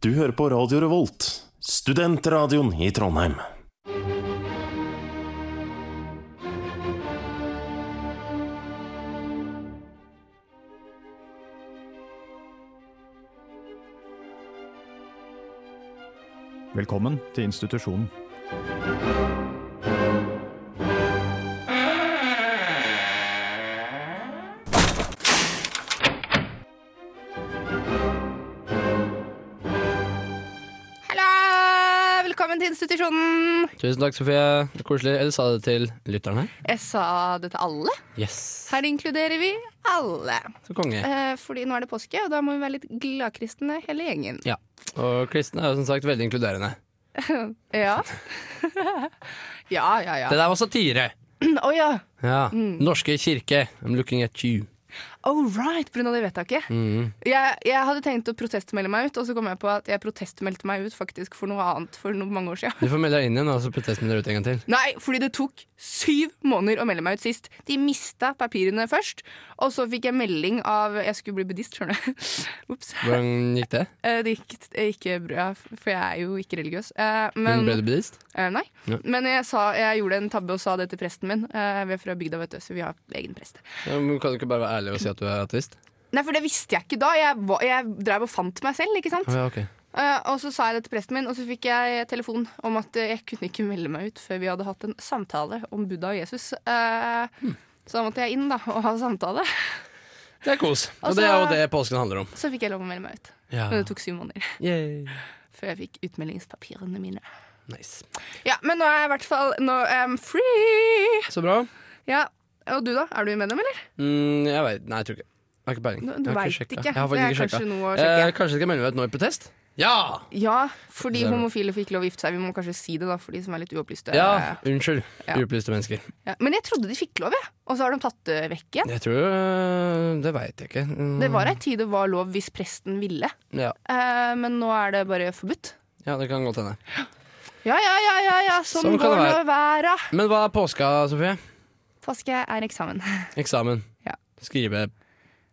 Du hører på Radio Revolt, studentradioen i Trondheim. Velkommen til institusjonen. Hallo! Velkommen til institusjonen. Tusen takk, Sofie. Koselig. Eller sa du det til lytteren her? Jeg sa det til alle. Yes. Her inkluderer vi alle. Så konge. Eh, fordi nå er det påske, og da må vi være litt gladkristne hele gjengen. Ja. Og kristne er jo som sagt veldig inkluderende. Ja. ja, ja, ja. Det der var satire. Å ja. Ja. Mm. Norske kirke. I'm looking at you. Oh right, pga. det vedtaket. Mhm. Jeg, jeg hadde tenkt å protestmelde meg ut, og så kom jeg på at jeg protestmeldte meg ut faktisk for noe annet for no mange år siden. Du får melde deg inn igjen, og så protesten dere ut en gang til. Nei, fordi det tok syv måneder å melde meg ut sist. De mista papirene først, og så fikk jeg melding av Jeg skulle bli buddhist, skjønner du. Ops. Hvordan gikk det? Eh, Det gikk eh, ikke bra, for jeg er jo ikke religiøs. Eh, Men, Men, ble du buddhist? eh, nei. Ja. men jeg, sa, jeg gjorde en tabbe og sa det til presten min. Eh, Vi er fra bygda, vet du, så vi har egen prest. Ja, men kan du ikke bare være ærlig og si at du er ateist? Nei, for det visste jeg ikke da. Jeg, var- jeg drev og fant meg selv, ikke sant. Å, ja, ok. Eh, Og så sa jeg det til presten min, og så fikk jeg telefon om at eh, jeg kunne ikke melde meg ut før vi hadde hatt en samtale om Buddha og Jesus. Eh, Hmm. Så da måtte jeg inn da og ha samtale. Det er kos. Og Altså- det er jo det påsken handler om. Så fikk jeg lov å melde meg ut. Ja. Men det tok syv måneder Yay. før jeg fikk utmeldingspapirene mine. Nice. Ja, Men nå er jeg i hvert fall Nå er jeg free! Så bra. Ja, Og du, da? Er du medlem, eller? Mm, jeg veit Nei, jeg tror ikke. Jeg har ikke peiling. Du, du Jeg har veit sjekket. ikke. Jeg har det faktisk er ikke kanskje sjekka. noe å Eh, sjekke. kanskje jeg skal melde meg ut nå i protest? Ja! Ja, fordi Så er det- homofile fikk lov å gifte seg. Vi må kanskje si det, da, for de som er litt uopplyste. Ja, unnskyld. eh, ja. Uopplyste mennesker. Ja, Men jeg trodde de fikk lov, jeg. Og så har de tatt det vekk igjen. Jeg tror øh, Det veit jeg ikke. Mm, Det var ei tid det var lov hvis presten ville, Ja, Eh, men nå er det bare forbudt. ja det kan godt hende. Ja, ja, ja, ja, ja. sånn Sånn kan går det nå verda. Men hva er påska, Sofie? Påske er eksamen. Eksamen. Ja. Skrive.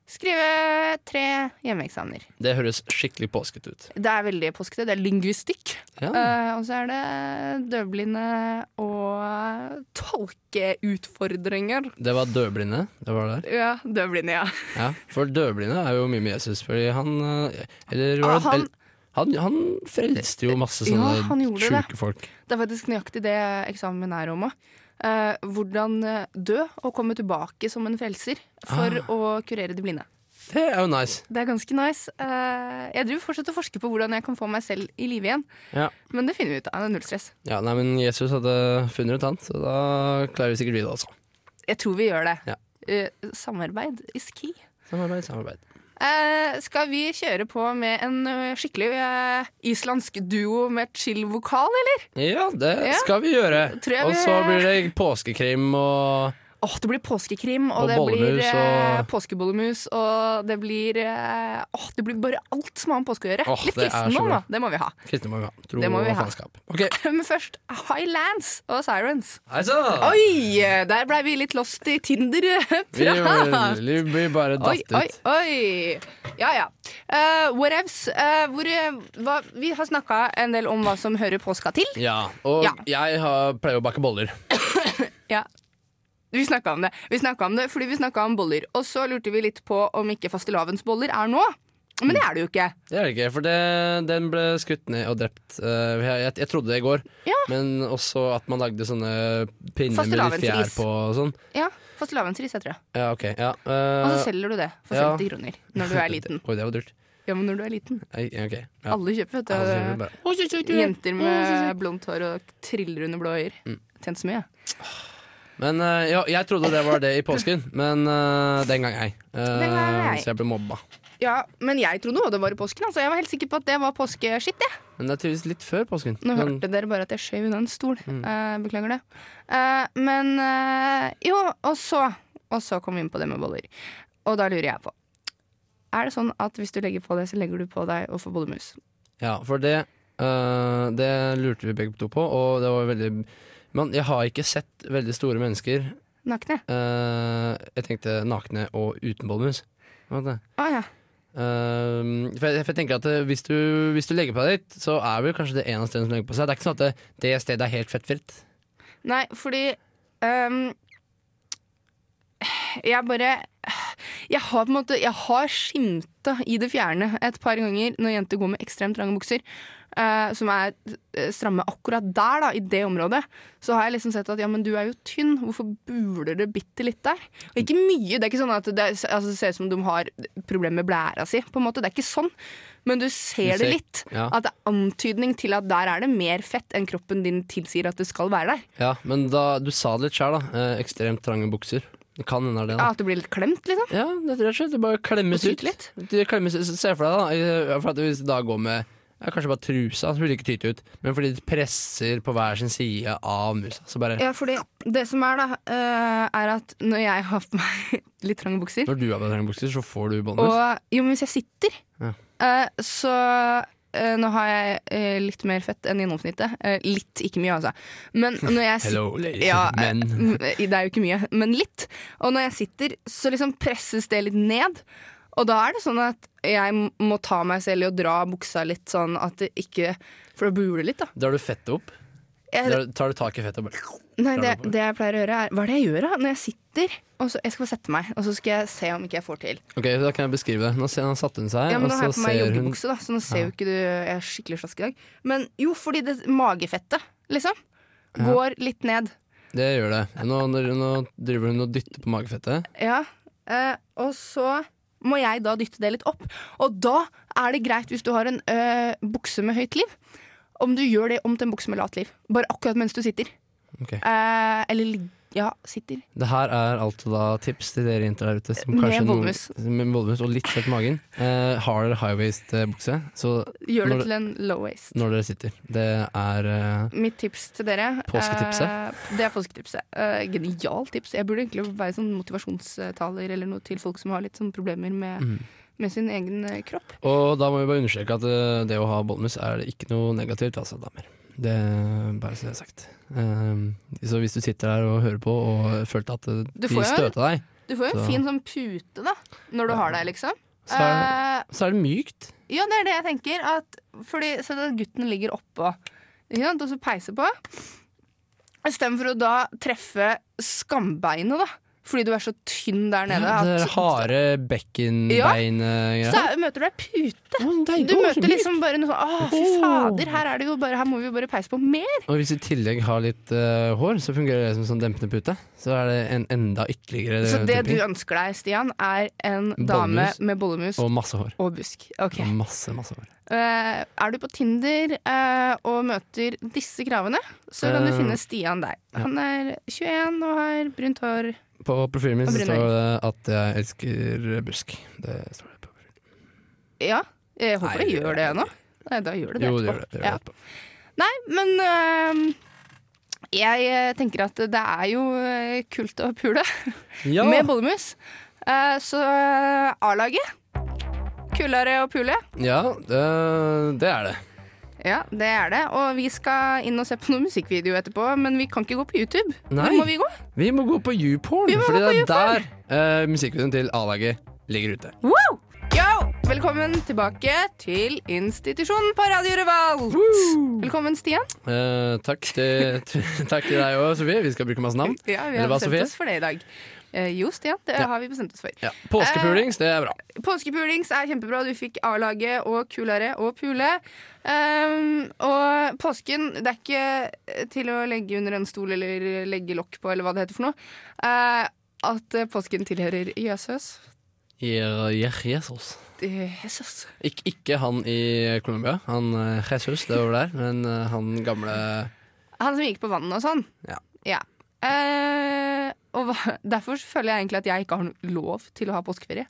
Skrive tre hjemmeeksamener. Det høres skikkelig påskete ut. Det er veldig påskete. Det er lingvistikk. Ja. Eh, og så er det døvblinde og tolkeutfordringer. Det var døvblinde. Det var der. Ja, døvblinde, ja. Ja, for døvblinde er jo mye med Jesus, fordi han øh, Eller var det Ah, han- eller- han, han frelste jo masse Ja, sånne han gjorde det. sjuke folk. Det er faktisk nøyaktig det eksamen er om òg. Eh, hvordan eh, dø og komme tilbake som en frelser for å kurere de blinde. Det er jo nice. Ah. Det er ganske nice. Eh, jeg driver fortsatt og forsker på hvordan jeg kan få meg selv i live igjen. Ja. Men det finner vi ut av. Det er null stress. Ja, nei, men Jesus hadde funnet ut han, så da klarer vi sikkert altså. vi det også. Jeg tror vi gjør det. Ja. Eh, samarbeid is key. Samarbeid, samarbeid. Eh, skal vi kjøre på med en eh, skikkelig eh, islandsk duo med chill-vokal, eller? Ja, det Ja. skal vi gjøre. Tror jeg Og vi- så blir det påskekrim og Åh, det blir påskekrim, og, Og det blir bollemus, eh, og- påskebollemus, og det blir eh, Åh, det blir bare alt som har med påske å gjøre. Åh, Litt det er så kristendom, bra. da. Det må vi ha. kristne må vi ha. Tro Det må vi og ha. faenskap. Ok, Men først Highlands og Sirens. hei sann! Oi! Der blei vi litt lost i Vi, Tinder-prat. vi blir bare Oi, datt oi, ut. oi. Ja, ja. Uh, whatevs. eh, hvor, eh, hva, vi har snakka en del om hva som hører påska til. Ja, og Ja. jeg har, pleier å bake boller. Ja. Vi snakka om det Vi snakket om det fordi vi snakka om boller. Og så lurte vi litt på om ikke fastelavnsboller er nå. Men det er det jo ikke. Det er det ikke, for det, den ble skutt ned og drept. Eh, jeg, jeg, jeg trodde det i går, Ja. men også at man lagde sånne pinner med litt fjær Fastelavnsris. på og sånn. Ja, Fastelavnsris heter det. Ja, ok. Ja, Og eh, så selger du det for ja. 50 kroner når du er liten. Oi, det var dyrt. Ja, men når du er liten. Nei, ok. Ja. Alle kjøper, vet du. Alle kjøper bare. Jenter med blondt hår og triller under blå øyer. Mm. Tjent så mye. Men eh, ja, jeg trodde det var det i påsken, men eh, den gang ei. Eh, Den gang ei. Så jeg ble mobba. Ja, men jeg trodde også det var i påsken. Altså. Jeg var helt sikker på at det var påskeskitt. jeg. Men det er tydeligvis litt før påsken. Nå Men, hørte dere bare at jeg skjøv unna en stol. Eh, beklager det. Eh, men eh, jo, og så Og så kom vi inn på det med boller. Og da lurer jeg på Er det sånn at hvis du legger på deg, så legger du på deg og får bollemus? ja, for det, eh, det lurte vi begge to på, og det var veldig Men jeg har ikke sett veldig store mennesker Nakne? eh, Jeg tenkte nakne og uten bollemus. Hva var det? Å ja. Ehm, for, jeg, for jeg tenker at eh, hvis du, hvis du legger på deg litt, så er vel kanskje det ene stedet som legger på seg. Det er ikke sånn at det, det stedet er helt fettfritt. Nei, fordi ehm, Jeg bare Jeg har på en måte Jeg har skimta i det fjerne et par ganger når jenter går med ekstremt trange bukser. eh, som er eh, stramme akkurat der, da, i det området. Så har jeg liksom sett at ja, men du er jo tynn, hvorfor buler det bitte litt der? Og ikke mye. Det er ikke sånn at det, er, altså, det ser ut som de har problemer med blæra si, på en måte. Det er ikke sånn. Men du ser, ser- det litt. ja. At det er antydning til at der er det mer fett enn kroppen din tilsier at det skal være der. Ja, men da, du sa det litt sjøl, da. Eh, ekstremt trange bukser. Det kan hende det er det. Ja, da at du blir litt klemt, liksom. Ja, det er rett og slett. Det bare klemmes Og tyter ut. Det klemmes, ut. se for deg, da. i- For at hvis du da går med ja, kanskje bare trusa, så vil det ikke tyte ut. Men fordi det presser på hver sin side av musa, så bare Ja, fordi det som er, da, eh, er at når jeg har på meg litt trange bukser Når du har på deg trange bukser, så får du Og båndmus. jo, men hvis jeg sitter, Ja. eh, så eh, Nå har jeg eh, litt mer fett enn gjennomsnittet. Eh, litt, ikke mye, altså. Men når jeg sitter Hello, ladies ja, and men. eh, m- Det er jo ikke mye, men litt. Og når jeg sitter, så liksom presses det litt ned. Og da er det sånn at jeg m- må ta meg selv i å dra buksa litt sånn at det ikke For da buler det litt, da. Drar du fettet opp? Jeg, Drar, tar du tak i fettet og bare Nei, det, Drar du på det? det jeg pleier å gjøre er Hva er det jeg gjør da? Når jeg sitter og så, Jeg skal bare sette meg, og så skal jeg se om ikke jeg får til. Ok, da kan jeg beskrive det. Nå, ser, nå satte hun seg, Ja, men og Nå har så jeg på meg ser hun joggebukse, da, så nå ser jo ikke du Jeg er skikkelig slask i dag. Men jo, fordi det magefettet, liksom, går litt ned. Det gjør det. Nå, nå, nå driver hun og dytter på magefettet. Ja. Eh, og så må jeg da dytte det litt opp. Og da er det greit hvis du har en eh, bukse med høyt liv. Om du gjør det om til en bukse med lavt liv. Bare akkurat mens du sitter. Ok. Eh, eller ligg- Ja, sitter. Det her er altså da tips til dere jenter der ute. Som Med kanskje noen- voldmus. Med voldmus og litt fett i magen. Eh, har dere high-waist-bukse, så Gjør Når det du- til en low waist. når dere sitter. Det er eh, Mitt tips til dere Påsketipset? eh, Det er påsketipset. Uh, Genialt tips. Jeg burde egentlig være sånn motivasjonstaler eller noe til folk som har litt sånn problemer med, Mm. med sin egen eh, kropp. Og da må vi bare understreke at eh, det å ha bollmus er det ikke noe negativt, altså, damer. Det er bare så det er sagt. Ehm, så hvis du sitter der og hører på og følte at eh, Du de får jo- støta deg, Du får jo en Så- fin sånn pute da når du har deg, liksom. så er, så er det mykt. Eh, ja, det er det jeg tenker. At, fordi, så at gutten ligger oppå ikke sant, og så peiser på. Istedenfor å da treffe skambeinet, da. Fordi du er så tynn der nede. Ja, det at- er harde eh, bekkenbein-greier. så er- møter du ei pute. Du møter liksom bare noe sånn Å, fy fader, her, er det jo bare, her må vi jo bare peise på mer. Og hvis du i tillegg har litt eh, hår, så fungerer det som sånn dempende pute. Så er det en enda ytterligere Så det du demping. ønsker deg, Stian, er en dame Bollemus. med bollemus Og Mm. masse hår. og busk. Ok. Og masse, masse hår. Eh, er du på Tinder eh, og møter disse kravene, så kan du Eh, finne Stian der. Han er 21 og har brunt hår. På profilen min Og så brun står det at jeg elsker busk. Det står det på profilen. Ja, jeg håper Nei, du gjør det jeg- nå. Nei, da gjør du det Jo, det etterpå. gjør det. det, gjør det Ja. etterpå. Nei, men eh, jeg eh, tenker at det er jo eh, kult å pule. Ja. med bollemus. Eh, så eh, A-laget. Kulere å pule. ja, det, det er det. Ja, det er det. Og vi skal inn og se på noen musikkvideo etterpå, men vi kan ikke gå på YouTube. Nei. Hvor må vi gå? Vi må gå på YouPorn, må fordi gå på det er der eh, musikkvideoen til A-laget ligger ute. Wow! Yo! Velkommen tilbake til institusjonen på Radio Revolt. Velkommen, Stian. Eh, takk, til, takk til deg òg, Sofie. Vi skal bruke masse navn. Ja, vi har Eller hva, bestemt Sofie? oss for det i dag. Eh, jo, Stian, det har vi bestemt oss for. Ja. Påskepulings, det er bra. Påskepulings er kjempebra. Du fikk A-laget og kulere og pule. Ehm, og påsken, det er ikke til å legge under en stol eller legge lokk på, eller hva det heter for noe, eh, at eh, påsken tilhører Jesus. Eh. Ja, Jesus. Jesus. Ik ikke han i Colombia. Han eh, Jesus, det var vel der. Men eh, han gamle Han som gikk på vannet og sånn. Ja. Eh, og hva, derfor så føler jeg egentlig at jeg ikke har noe lov til å ha påskeferie.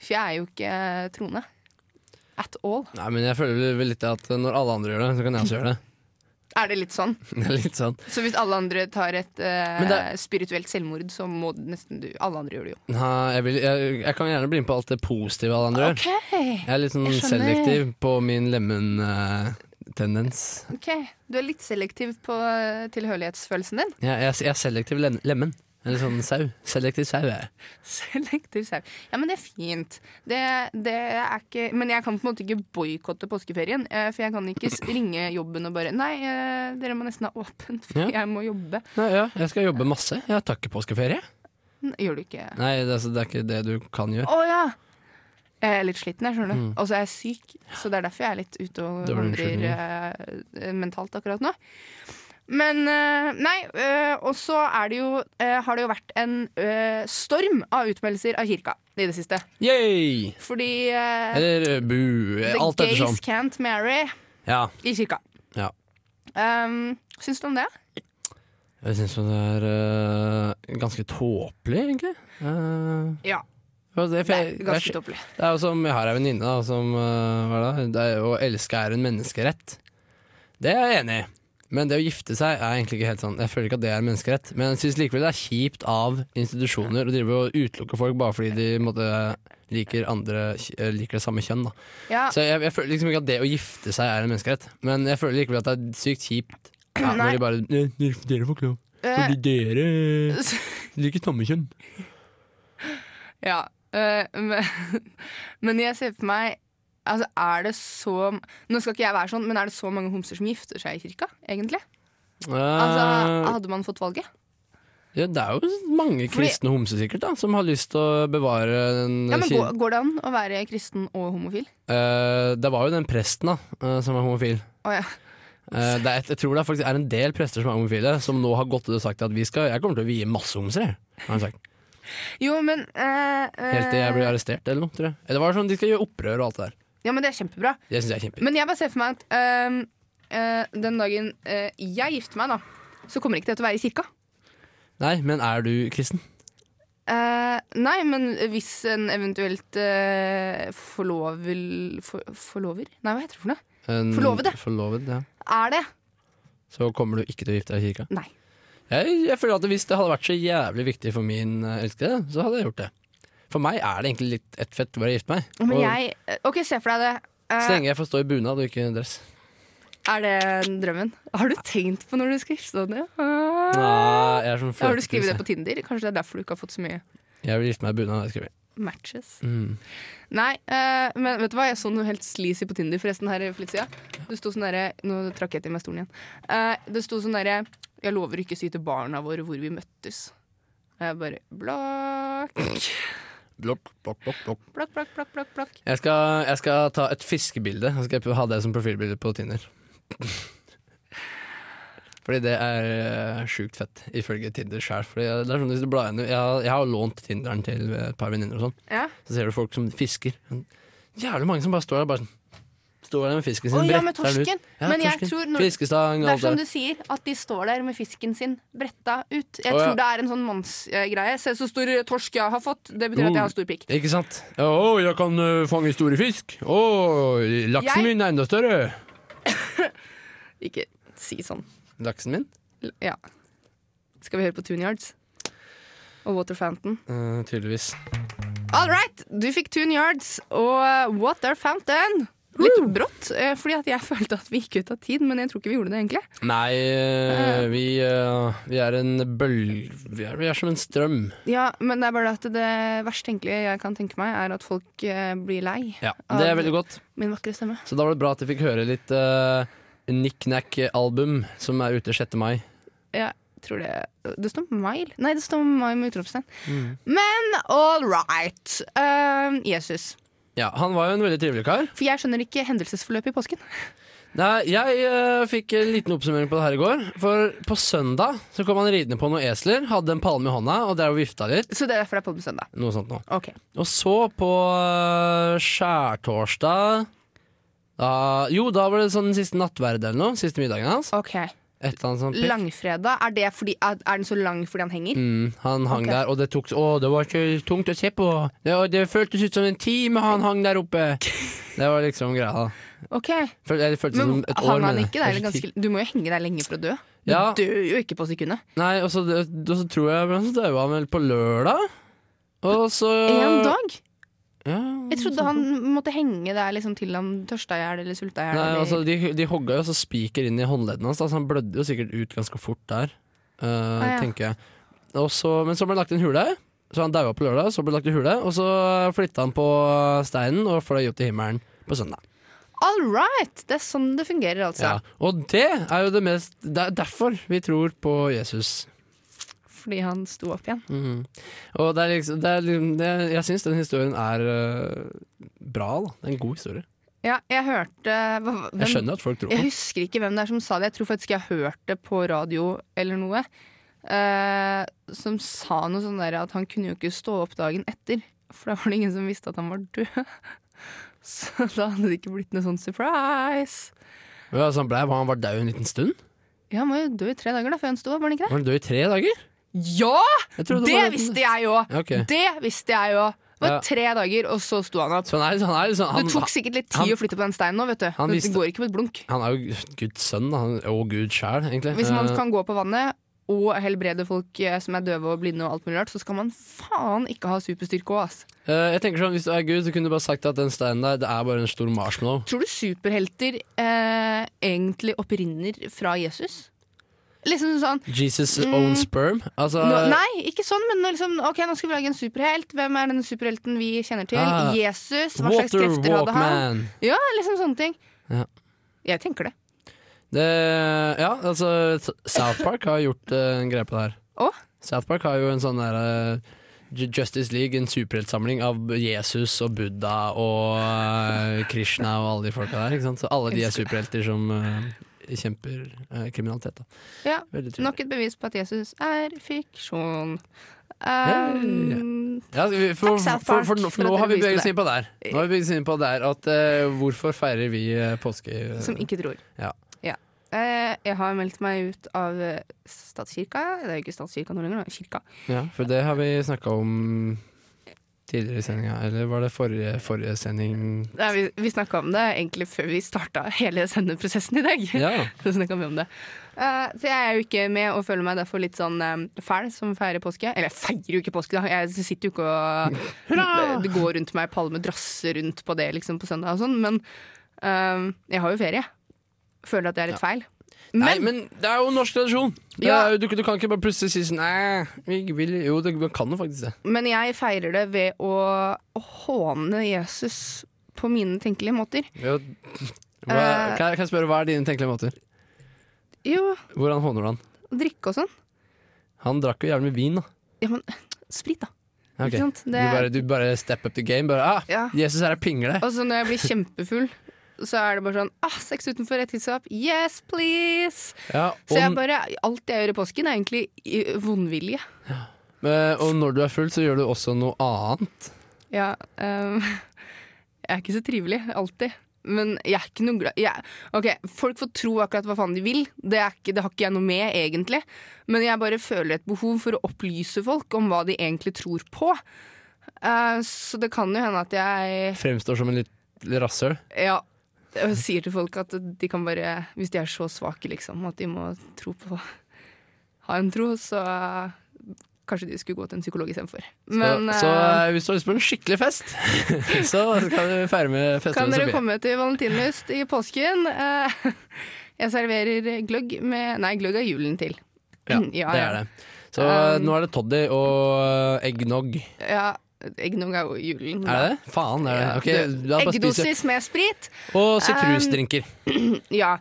For jeg er jo ikke troende. At all. Nei, men jeg føler vel- vel litt at når alle andre gjør det, så kan jeg også gjøre det. Er det litt sånn? Det er litt sånn Så hvis alle andre tar et eh, Men det- spirituelt selvmord, så må nesten du Alle andre gjør det jo. Nei, jeg, vil, jeg, jeg kan gjerne bli med på alt det positive alle andre gjør. OK. Jeg er litt sånn Jeg skjønner. selektiv på min lemen-tendens. ok. Du er litt selektiv på eh, tilhørighetsfølelsen din. jeg, jeg, jeg er selektiv len- lemen. En sånn sau. Selektiv sau. er jeg. Selektiv sau. Ja, men det er fint. Det, det er ikke, men jeg kan på en måte ikke boikotte påskeferien. eh, For jeg kan ikke s- ringe jobben og bare Nei, eh, dere må nesten ha åpent, for Ja. jeg må jobbe. Nei, ja, jeg skal jobbe masse. Jeg tar ikke påskeferie. N- Gjør du ikke Nei, det, er altså, det er ikke det du kan gjøre. Å ja! Jeg er litt sliten, jeg skjønner du. Mm. Og så er jeg syk, så det er derfor jeg er litt ute og Dårlig vandrer eh, mentalt akkurat nå. Men eh, nei, eh, og så er det jo eh, har det jo vært en eh, storm av utmeldelser av kirka i det siste. Yay! Fordi eh, Eller eh, bu. eh, Alt The gays ettersom. can't marry Ja. i kirka. ja. Um, syns du om det? Jeg syns jo det er eh, ganske tåpelig, egentlig. Eh, Ja. hva er det, for Det jeg, er ganske jeg, tåpelig. Det er jo som, Jeg har ei venninne da, som eh, hva er det? det er, Å elske er en menneskerett. Det er jeg enig i. Men det å gifte seg er egentlig ikke helt sånn. Jeg føler ikke at det er en menneskerett. Men jeg syns likevel det er kjipt av institusjoner å drive og utelukke folk bare fordi de på en måte, liker, andre, eh, liker det samme kjønn. Da. Ja. Så jeg, jeg føler liksom ikke at det å gifte seg er en menneskerett. Men jeg føler likevel at det er sykt kjipt ja, Nei. når de bare «Nei, Dere dere får ikke lov, eh, fordi dere s- liker samme kjønn. ja. eh, men, men jeg ser for meg Altså, er det så Nå skal ikke jeg være sånn, men er det så mange homser som gifter seg i kirka, egentlig? Altså, Eh, hadde man fått valget? Ja, det er jo mange kristne homser sikkert da Som har lyst til å bevare den Ja, men kir- går, går det an å være kristen og homofil? Eh, Det var jo den presten da eh, Som er homofil Å ja. Eh, det er et, Jeg tror det er faktisk er en del prester som er homofile Som nå har gått ut og sagt at vi skal Jeg kommer til å vie masse homser jeg, har han sagt. Jo, men eh, eh, Helt til jeg blir arrestert eller noe tror jeg. Eller Det var sånn de skal gjøre opprør og alt det der Ja, men det er kjempebra. Det synes jeg er kjempe Men jeg bare ser for meg at øhm, øh, den dagen øh, jeg gifter meg, da, så kommer ikke det til å være i kirka. Nei, men er du kristen? Eh, nei, men hvis en eventuelt øh, forlovel for, Forlover? Nei, hva heter det for noe? En- Forlovede. Forloved, ja Er det? Så kommer du ikke til å gifte deg i kirka Nei. jeg, jeg føler at hvis det hadde vært så jævlig viktig for min eh, elskede Så hadde jeg gjort det For meg er det egentlig litt et fett hvor jeg gifter meg Men Og- jeg øh, OK, se for deg det. Eh, Så lenge jeg får stå i bunad og ikke dress. er det drømmen? Har du tenkt på når du skal gifte deg? Anja? Nei, jeg er sånn Ah! Har du skrevet det følelsesmessig. på Tinder? Kanskje det er derfor du ikke har fått så mye Jeg vil gifte meg i bunad. har jeg skrevet. matches? Mm. Nei, eh, men vet du hva? Jeg så noe helt sleazy på Tinder forresten her for litt siden. Det sto sånn derre Nå trakk jeg til meg stolen igjen. Eh, det sto sånn derre Jeg lover ikke å si til barna våre hvor vi møttes. Og Jeg bare Blakk, Blokk, blokk, blokk, blokk. blakk, blakk, blakk. blakk, blakk. Jeg skal, jeg skal ta et fiskebilde og skal jeg ha det som profilbilde på Tinder. Fordi det er eh, sjukt fett, ifølge Tinder sjøl. Jeg, det er sånn hvis du blar gjennom- jeg, har- jeg har lånt Tinderen til et par venninner, og sånn Ja. så ser du folk som fisker. Jævlig mange som bare står der bare sånn. Står der med fisken sin, Å, ja, med bretter den ut. torsken. Men jeg tror når- Fiskestang og Det er alt som det. du sier, at de står der med fisken sin bretta ut. Jeg Å, ja. tror det er en sånn mannsgreie. Se så stor torsk jeg har fått. Det betyr at jeg har stor pikk. Ikke sant? Å, jeg kan ø, fange store fisk. Å, laksen Jeg- min er enda større. Ikke si sånn. Laksen min? L- Ja. Skal vi høre på Tune Yards? Og Water Fountain? Eh, tydeligvis. All right, du fikk Tune Yards og Water Fountain. Litt brått, eh, fordi at jeg følte at vi gikk ut av tid, men jeg tror ikke vi gjorde det egentlig. Nei, ø, vi, ø, vi er en bølg... Vi er, vi er som en strøm. Ja, men det er bare at det verst tenkelige jeg kan tenke meg, er at folk eh, blir lei Ja, Det er veldig godt. min vakre stemme. Så da var det bra at jeg fikk høre litt uh, Nick Nack-album, som er ute 6. mai. Jeg tror det Det står mile. Nei, det står mile med utropstegn. Mm. Men all right. eh, Jesus. Ja, Han var jo en veldig trivelig kar. For jeg skjønner ikke hendelsesforløpet i påsken. Nei, jeg eh, fikk en liten oppsummering på det her i går. For på søndag så kom han ridende på noen esler, hadde en palme i hånda og drev og vifta litt. Så det er derfor det er på søndag. Noe sånt noe. Ok. Og så på øh, skjærtorsdag da- Jo, da var det sånn den siste nattverd eller noe. Siste middagen hans. Ok. Et eller annet sånt piff. Langfredag, er, det fordi, er er den så lang fordi han henger? Mm, han hang Ok. der, og det tok Å, det var ikke tungt å se på. Det, var- det føltes ut som en time han hang der oppe. Det var liksom greia. da. Ok Føl, eller føltes som Men sånn et år, hang han mener jeg. ikke der Kanskje ti- ganske Du må jo henge der lenge for å dø. Du Ja. dør jo ikke på sekundet. Nei, og så, dø- og så tror jeg men Så daua han vel på lørdag. Og så Én dag? Ja, Jeg trodde Sånn han måtte henge der liksom til han tørsta i hjel eller sulta i hjel. Nei, eller- altså, de, de hogga jo så spiker inn i håndleddene hans, da, så han blødde jo sikkert ut ganske fort der, eh, Ah, ja. tenker jeg. og så, men så ble det lagt i en hule. Så han daua på lørdag, så ble det lagt i hule, og så flytta han på steinen og fløy opp til himmelen på søndag. All right! Det er sånn det fungerer, altså. Ja. Og det er jo det mest Det er derfor vi tror på Jesus. Fordi han sto opp igjen. Mhm. Og det er liksom, det er, liksom- det, er- jeg syns den historien er øh, bra. da Det er en god historie. Ja, jeg hørte hva- hvem- Jeg skjønner at folk tror på Jeg den. husker ikke hvem det er som sa det. Jeg tror faktisk jeg har hørt det på radio eller noe. eh, som sa noe sånn der at han kunne jo ikke stå opp dagen etter. For da var det ingen som visste at han var død. Så da hadde det ikke blitt noe sånn surprise. Ja, så altså, han, ble, han var død en liten stund? Ja, Han var jo død i tre dager da før han sto opp, var han ikke det? Var han død i tre dager? Ja! Jeg trodde Det var- visste jeg òg! Ja, ok. Det visste jeg òg. Det var Ja. tre dager, og så sto han opp. Så han er, han er liksom han, Det tok sikkert litt han- tid å flytte på den steinen nå, vet du. Han Det visste- går ikke på et blunk. han er jo Guds sønn, da. Han- og Gud sjæl, egentlig. Hvis man Eh, kan gå på vannet og helbrede folk eh, som er døve og blinde, og alt mulig rart, så skal man faen ikke ha superstyrke òg, ass. eh, jeg tenker sånn, Hvis du er Gud, så kunne du bare sagt at den steinen der Det er bare en stor marshmallow. Tror du superhelter eh, egentlig opprinner fra Jesus? Liksom sånn Jesus' Mm. own sperm. Altså, nå, Nei, ikke sånn, men nå liksom Ok, nå skal vi lage en superhelt. Hvem er denne superhelten vi kjenner til? Ah. Jesus? Hva slags Water krefter hadde han? Walkman. Ja, liksom sånne ting. Ja. Jeg tenker det. Det, ja, altså S- South Park har gjort eh, en greie på det her. Å? South Park har jo en sånn der eh, Ju- Justice League, en superheltsamling av Jesus og Buddha og eh, Krishna og alle de folka der. Ikke sant? Så alle de er superhelter som eh, kjemper eh, kriminalitet. Da. Ja. Veldig trivelig. Nok et bevis på at Jesus er fiksjon. ja. Um, Ja, vi- for, Takk, South for, Park, for, nå- for for nå at har vi dere viste beveget oss inn på der. Nå har vi beveget oss inn på der at eh, Hvorfor feirer vi eh, påske? eh, Som ikke tror. Ja. Eh, jeg har meldt meg ut av eh, statskirka. Det er jo ikke statskirka nå lenger, det er kirka. Ja, for det har vi snakka om tidligere i sendinga, eller var det forrige, forrige sending? Nei, vi vi snakka om det egentlig før vi starta hele sendeprosessen i dag. Ja. Så snakket vi om det. Eh, så jeg er jo ikke med og føler meg derfor litt sånn eh, fæl som feirer påske. Eller jeg feirer jo ikke påske, da. Jeg sitter jo ikke og det, det går rundt meg palme drasser rundt på det liksom på søndag og sånn. Men eh, jeg har jo ferie. Føler at det er litt feil. Nei, men det er jo norsk tradisjon! Det Ja. er jo- Du, du kan ikke bare plutselig si sånn Nei, vi vil Jo, du man kan jo faktisk det. Men jeg feirer det ved å håne Jesus på mine tenkelige måter. Ja. Eh. Hva, kan, jeg, kan jeg spørre, hva er dine tenkelige måter? Jo, Hvordan håner du han? drikke og sånn. Han drakk jo jævlig med vin, da. Ja, men sprit, da. Ok. Ikke sant? Du, Det, bare, du bare step up the game. Bare, ah, Ja. Jesus her er pingle! Og så Altså, når jeg blir kjempefull, så er det bare sånn ah, Sex utenfor etterskap. Yes, please! Ja, Så jeg og, bare, alt jeg gjør i påsken, er egentlig i- vondvilje. eh, og når du er full, så gjør du også noe annet. Ja, ehm, jeg er ikke så trivelig, alltid. Men jeg er ikke noe glad jeg, Ok, Folk får tro akkurat hva faen de vil. Det, er ikke, det har ikke jeg noe med, egentlig. Men jeg bare føler et behov for å opplyse folk om hva de egentlig tror på. Eh, så det kan jo hende at jeg Fremstår som en litt rasshøl. Ja, jeg sier til folk at de kan bare Hvis de er så svake, liksom, at de må tro på Ha en tro, så eh, kanskje de skulle gå til en psykolog istedenfor. Men så, så eh, eh, hvis du har lyst på en skikkelig fest, så kan du feire med festene Kan med dere Sofie. komme til valentinlyst i påsken? Eh, Jeg serverer gløgg med Nei, gløgg er julen til. Ja, Mm, Ja, det ja. er det. Så Um, nå er det toddy og eggnog. Ja, Eggnog er jo julen. Er det det? Faen, det er det. Ja, Ok, la oss bare spise. Eggedosis med sprit. Og sitrusdrinker. Um, Ja.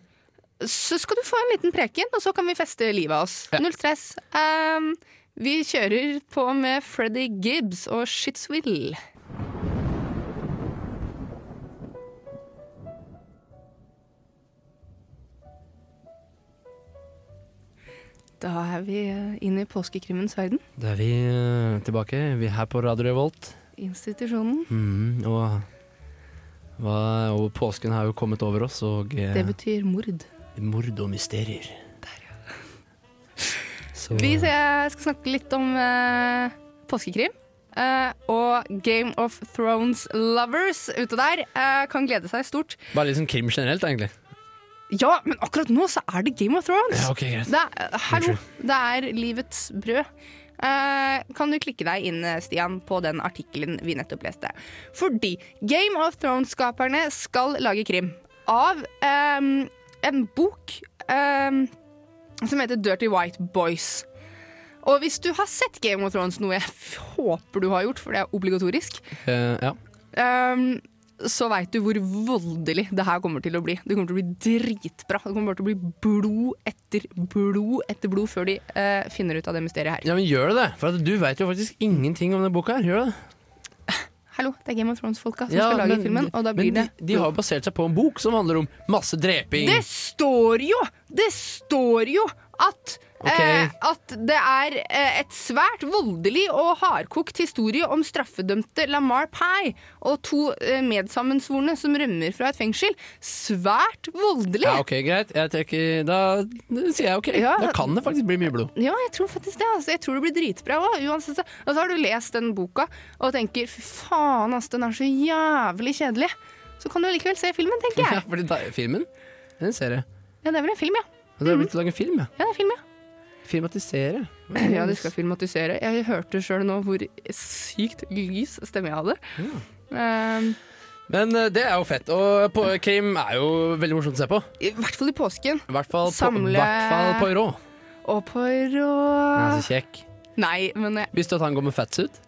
Så skal du få en liten preken, og så kan vi feste livet av oss. Null stress. Um, vi kjører på med Freddy Gibbs og Shitswill. Da er vi eh, inne i påskekrimmens verden. Da er vi eh, tilbake. Vi er her på Radio Revolt. Institusjonen. Mhm, og, hva, og påsken har jo kommet over oss, og eh, Det betyr mord. mord og mysterier. Så Vi ser- jeg skal snakke litt om eh, påskekrim. eh, og Game of Thrones-lovers ute der eh, kan glede seg stort. bare litt sånn krim generelt, egentlig. Ja, men akkurat nå så er det Game of Thrones! Ja, ok, greit. Det er, eh, hallo, det er livets brød. Eh, kan du klikke deg inn, eh, Stian, på den artikkelen vi nettopp leste? Fordi Game of Thrones-skaperne skal lage krim av ehm, en bok ehm, som heter Dirty White Boys. Og hvis du har sett Game of Thrones, noe jeg f- håper du har gjort, for det er obligatorisk, Eh, ja. ehm, så veit du hvor voldelig det her kommer til å bli. Det kommer til å bli dritbra. Det kommer bare til å bli blod etter blod etter blod før de eh, finner ut av det mysteriet her. ja, men gjør det det? For at du vet jo faktisk ingenting om denne boka her. Gjør det? Hallo, det er Game of Thrones-folka som Ja, skal lage men- filmen, og da blir men det de, de har basert seg på en bok som handler om masse dreping. Det står jo! Det står jo at Ok. eh, at det er eh, et svært voldelig og hardkokt historie om straffedømte Lamar Pye og to eh, medsammensvorne som rømmer fra et fengsel. Svært voldelig! Ja, Ja, ok, greit. Jeg trekker, da sier jeg ok. Ja. Da kan det faktisk bli mye blod. jeg tror faktisk det. Altså. Jeg tror det blir dritbra òg. Og så har du lest den boka og tenker fy faen, ass, den er så jævlig kjedelig. Så kan du likevel se filmen, tenker Ja, jeg. fordi da, filmen Det er en serie. Ja, det er vel en film, ja. Og det har blitt å lage film, ja. Ja, det er film, ja. Filmatisere. Ja, de skal filmatisere. Jeg hørte sjøl nå hvor sykt lys stemme jeg hadde. Ehm, Men eh, det er jo fett. Og på, krim er jo veldig morsomt å se på. I hvert fall i påsken. I hvert fall, Samle- på, hvert fall på rå. Og på Han rå er så kjekk. Nei, men jeg Visste du at han går med fatsuit?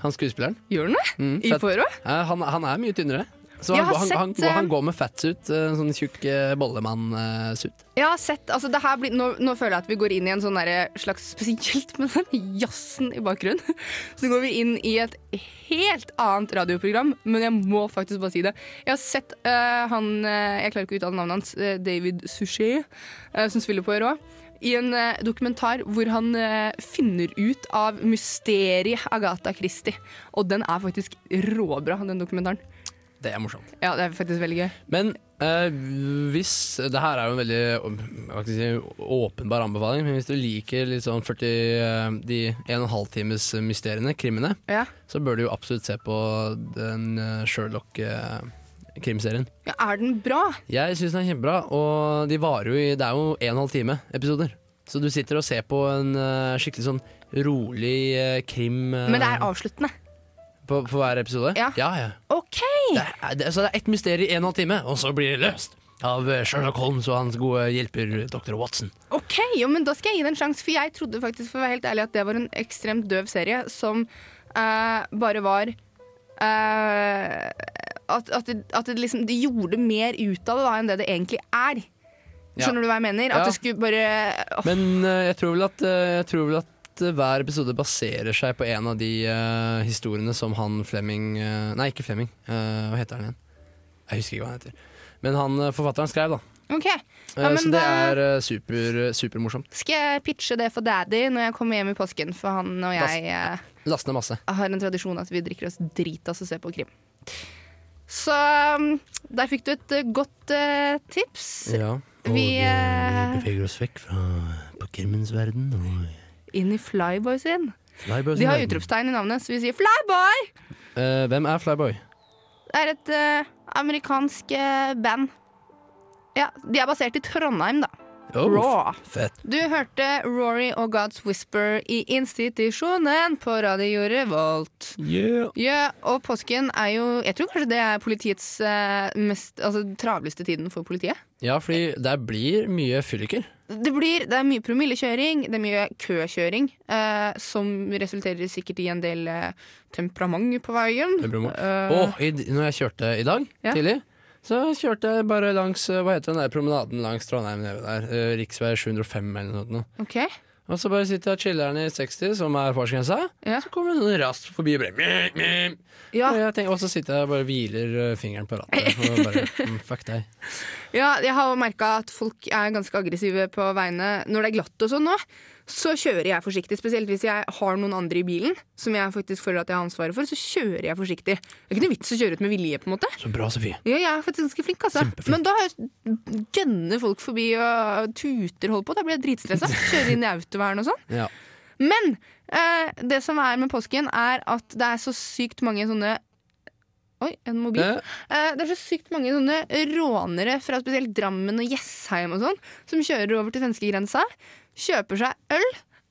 Han skuespilleren. gjør den det? Mm, I fett. Poirot? Eh, han, han er mye tynnere. Så Jeg han, har han, sett, han, eh, han, går med fatsuit, eh, sånn tjukk eh, bollemann-suit. Jeg har sett, altså det her blir, nå, nå føler jeg at vi går inn i en sånn derre slags spesielt med den jazzen i bakgrunnen. Så går vi inn i et helt annet radioprogram, men jeg må faktisk bare si det. Jeg har sett eh, han eh, Jeg klarer ikke å uttale navnet hans. eh, David Suchet, eh, som spiller på Rå. I en eh, dokumentar hvor han eh, finner ut av mysteriet Agatha Christie. Og den er faktisk råbra, den dokumentaren. det er morsomt. Ja, det er faktisk veldig gøy. Men eh, hvis Det her er jo en veldig hva skal jeg si, åpenbar anbefaling, men hvis du liker litt sånn 40, eh, de 1,5 times mysteriene, krimene, Ja. så bør du jo absolutt se på den eh, Sherlock-krimserien. Ja, er den bra? Jeg syns den er kjempebra, og de varer jo i Det er jo 1,5 time episoder. Så du sitter og ser på en eh, skikkelig sånn rolig eh, krim eh, Men det er avsluttende. på, på hver episode? Ja. ja, ja. OK! Det er, det, så det er ett mysterium i en og en halv time, og så blir det løst av eh, Sherlock Holmes og hans gode hjelper dr. Watson. Ok, jo, men da skal jeg gi det en sjanse, for jeg trodde faktisk for å være helt ærlig at det var en ekstremt døv serie som eh, bare var eh, At, at, det, at det liksom de gjorde mer ut av det da enn det det egentlig er. Ja. Skjønner du hva jeg mener? At Ja. det skulle bare åh, Men eh, jeg, tror vel at, eh, jeg tror vel at eh, hver episode baserer seg på en av de eh, historiene som han Flemming eh, Nei, ikke Flemming. Eh, hva heter han igjen? Jeg husker ikke hva han heter. Men han eh, forfatteren skrev, da. OK, Eh, Ja, men så det da- er eh, super, supermorsomt. skal jeg pitche det for daddy når jeg kommer hjem i påsken? For han og jeg eh, Last ned masse. har en tradisjon at vi drikker oss dritas og ser på krim. Så mm, der fikk du et eh, godt eh, tips. og, Vi, eh, eh, vi beveger oss vekk fra krimmens verden og Inn i Flyboy sin. De har utropstegn i navnet, så vi sier Flyboy! Eh, hvem er Flyboy? Det er et eh, amerikansk eh, band. Ja, De er basert i Trondheim, da. Raw. Oh, Fett. Du hørte Rory og God's Whisper i institusjonen på Radio Revolt. Ja, og påsken er jo Jeg tror kanskje det er politiets eh, mest Altså travleste tiden for politiet. Ja, fordi der blir mye fylliker. Det, blir, det er mye promillekjøring, det er mye køkjøring, eh, som resulterer sikkert i en del eh, temperament på veien. Det blir mye. Eh, Og i, når jeg kjørte i dag Ja. tidlig, så kjørte jeg bare langs eh, hva heter den der promenaden langs Trondheim nede der. eh, Riksvei 705 eller noe. Ok, Og så bare sitter jeg og chiller'n i 60, som er fartsgrensa. ja. Så kommer det noen raskt forbi og bare meh, meh. Ja, Og, jeg tenker, og så sitter jeg og bare hviler eh, fingeren på rattet. Og bare, mm, fuck deg. ja, jeg har merka at folk er ganske aggressive på veiene. Når det er glatt og sånn nå, så kjører jeg forsiktig. Spesielt hvis jeg har noen andre i bilen som jeg faktisk føler at jeg har ansvaret for, så kjører jeg forsiktig. Det er ikke noe vits å kjøre ut med vilje, på en måte. Så bra, Sofie. Ja, jeg er faktisk ganske flink, altså. Kjempeflink. Men da gønner folk forbi og tuter, holder på. Da blir jeg dritstressa. Kjører inn i autovern og sånn. Ja. Men eh, det som er med påsken, er at det er så sykt mange sånne Oi, en mobil. Eh, Eh, Det er så sykt mange sånne rånere fra spesielt Drammen og Jessheim og sånn, som kjører over til svenskegrensa, kjøper seg øl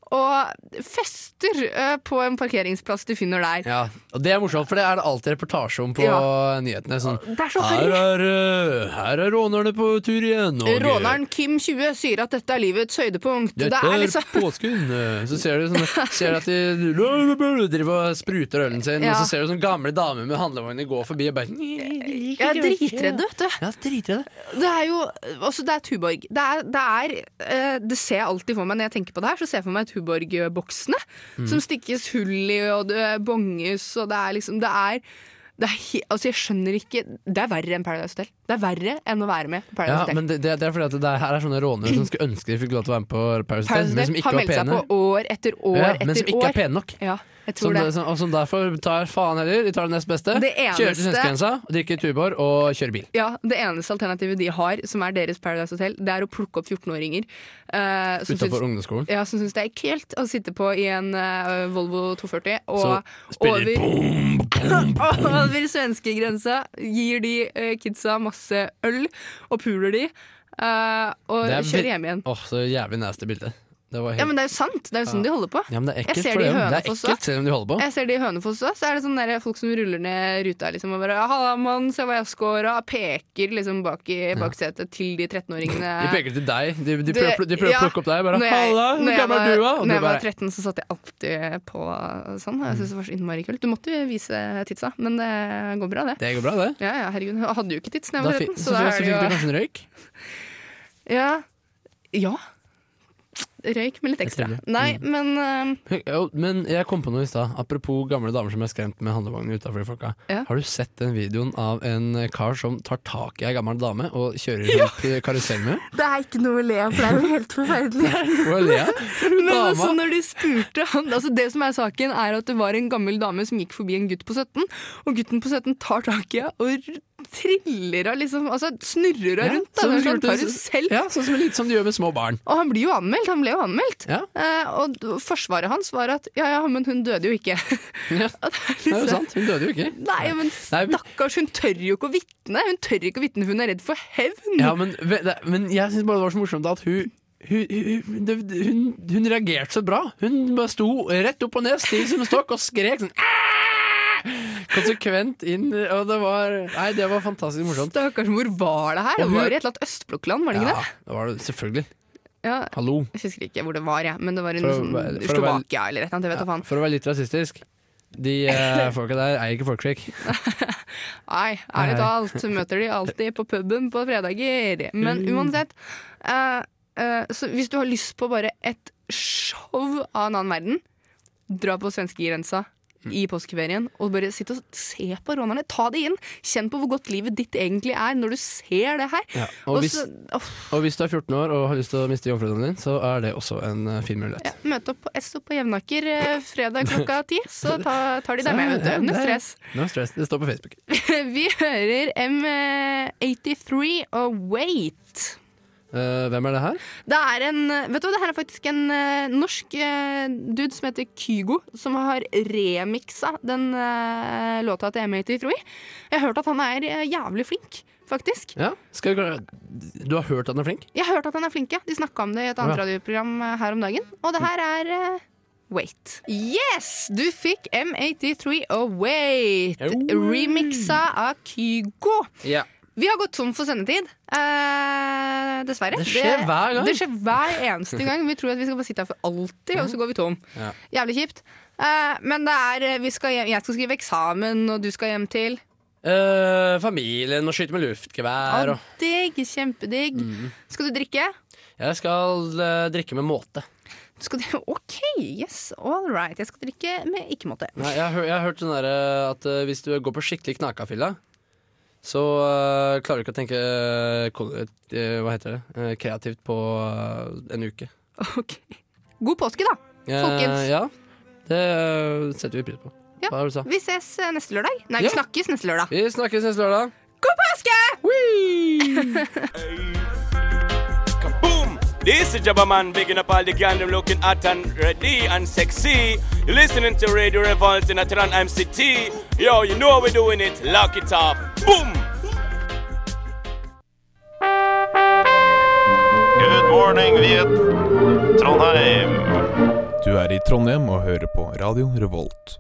og fester eh, på en parkeringsplass de finner der. Ja, og det er morsomt, for det er det alltid reportasje om på Ja. nyhetene. Sånn, Det er så her harry. er, eh, her er rånerne på tur igjen. og- Råneren Kim 20 sier at dette er livets høydepunkt. Dette det er er liksom påsken. eh, Så ser du, sånne, ser du at de driver og spruter ølen sin, Ja. og så ser du sånne gamle damer med handlevogner gå forbi og bare Jeg er dritredd, vet du. Ja, dritredd. Det er jo Altså, det er Tuborg. Det er, det, er, eh, det ser jeg alltid for meg når jeg tenker på det her. Så ser jeg for meg Tuborg-boksene Mm. som stikkes hull i, og det eh, bonges, og det er liksom Det er, det er he, Altså, jeg skjønner ikke Det er verre enn Paradise Hotel. Det er verre enn å være med på Paradise Ja, Hotel. men det, det, det er fordi at det er, her er sånne rånere som skulle ønske de fikk lov til å være med på Paris Hotel, Paradise men Hotel som ikke har var meldt seg pene. på år etter år Ja, men etter som ikke år. er pene nok. Ja, jeg Som, tror det. som, og som derfor tar faen heller. De tar det nest beste. Det Kjører til eneste- svenskegrensa, drikker Tuborg og kjører bil. Ja, Det eneste alternativet de har, som er deres Paradise Hotel, det er å plukke opp 14-åringer. eh, som syns- Utafor ungdomsskolen. ja, som syns det er kult å sitte på i en eh, Volvo 240 og Så spiller over, over svenskegrensa gir de eh, kidsa masse øl og puler de, eh, og Det er ve- kjører hjem igjen. Åh, så jævlig nasty bilde. Det var helt... Ja, men det er jo sant! Det er jo sånn de holder på. Ja, men det er ekkelt, Jeg ser for det i det, er- det er Hønefoss ekkelt selv om de holder på. Jeg ser det i Hønefoss òg, så er det sånn der folk som ruller ned ruta liksom, og bare 'halla, mann, se hva jeg scora', peker liksom bak i baksetet til de 13-åringene. De peker til deg. De, de Det- prøver, de prøver ja. å plukke opp deg. Bare Når jeg- 'halla, når hvor jeg gammel var- er du', da? Og Når du jeg var bare 13, så satt jeg alltid på sånn. og Jeg syntes det var så innmari kult. Du måtte jo vise tidsa, men det går bra, det. Det går bra, det. Ja, ja, herregud. Jeg hadde jo ikke tids da jeg Da var 13, fikk, så, så da så er fikk du det kanskje en røyk. jo Ja. ja. Røyk med litt Jeg Mm. ekstra. trodde. Nei, men eh, Jo, Men jeg kom på noe i stad. Apropos gamle damer som er skremt med handlevogner utafor de folka. Ja. Har du sett den videoen av en kar som tar tak i ei gammel dame og kjører rundt i karusell med henne? Det er ikke noe å le av, for det er jo helt forferdelig. Hva ler jeg? Men Dama. altså, når de spurte han altså Det som er saken, er at det var en gammel dame som gikk forbi en gutt på 17, og gutten på 17 tar tak i henne og r- triller henne, liksom. Altså snurrer henne rundt. Da. som Det er gjorde en sånn det- karusell. Ja, sånn som, litt som de gjør med små barn. Og han blir jo anmeldt. Han ble jo anmeldt. Ja, Eh, og d- forsvaret hans var at ja ja, men hun døde jo ikke. ja. Og det er Det er jo liksom- sant. Hun døde jo ikke. Nei, men Nei, men- stakkars, hun tør jo ikke å vitne. Hun tør ikke å vitne, for hun er redd for hevn. Ja, men, ve- det- men jeg syns bare det var så morsomt at hun hun, hun, det- hun, hun reagerte så bra. Hun bare sto rett opp og ned, stiv som en stokk, og skrek sånn «Æ!» Konsekvent inn, og det var Nei, det var fantastisk morsomt. Stakkars, hvor var det her? Og Det hun- var i et eller annet østblokkland, var det ikke Ja, det? det var det selvfølgelig. Ja, Hallo. Jeg husker ikke hvor det var, jeg, men det var i For noe å sånn være- for å være- Slovakia eller et eller annet. Jeg vet da faen. For å være litt rasistisk. De eh, folka der eier ikke folkeskikk. Nei, ærlig talt møter de alltid på puben på fredager. Men Mm. uansett, eh, eh, så hvis du har lyst på bare et show av en annen verden, dra på svenskegrensa Mm. i påskeferien og bare sitt og se på rånerne. Ta det inn. Kjenn på hvor godt livet ditt egentlig er når du ser det her. Ja, og, Og hvis, så, åh, og hvis du er 14 år og har lyst til å miste jomfrudommen din, så er det også en eh, fin ja, mulighet. møte opp på SO på Jevnaker eh, fredag klokka ti, så ta, tar de deg med. vet du. Null stress. No stress. Det står på Facebook. Vi hører M83 og Wait. Eh, hvem er det her? Det er en, vet du hva, det her er faktisk en eh, norsk eh, dude som heter Kygo, som har remiksa den eh, låta til M83. Jeg har hørt at han er eh, jævlig flink, faktisk. Ja, skal vi, klare- du har hørt at den er flink? Jeg har hørt at han er flink, ja. De snakka om det i et annet Ja. radioprogram eh, her om dagen. Og det her er eh, Wait. Yes! Du fikk M83 og oh, Wait, Oi. remiksa av Kygo. Ja. Vi har gått tom for sendetid. Eh, dessverre. Det skjer hver gang. Det skjer hver eneste gang. Vi tror at vi skal bare sitte her for alltid, og så går vi tom. Ja. Jævlig kjipt. Eh, men det er eh, vi skal hjem, Jeg skal skrive eksamen, og du skal hjem til Eh, familien og skyte med luftgevær Å, og Digg. Kjempedigg. Mm. Skal du drikke? Jeg skal eh, drikke med måte. Skal du, OK, yes, all right. Jeg skal drikke med ikke-måte. Nei, jeg, har hø- jeg har hørt sånn derre at eh, hvis du går på skikkelig knakafylla, så eh, klarer du ikke å tenke eh, kol- eh, Hva heter det? Eh, kreativt på eh, en uke. Ok. God påske, da. Eh, Folkens. ja. Det eh, setter vi pris på. Ja. Hva var det du sa? Vi ses eh, neste lørdag. Nei, Ja. vi snakkes neste lørdag. Vi snakkes neste lørdag. God påske! Boom! This is Jabba Man, bigging up all the gandom looking hot and ready and sexy. You're listening to Radio Revolt in Atlanta MCT. Yo, you know how we're doing it. Lock it up. Boom! Good morning, Viet. Trondheim. Du er i Trondheim og hører på Radio Revolt.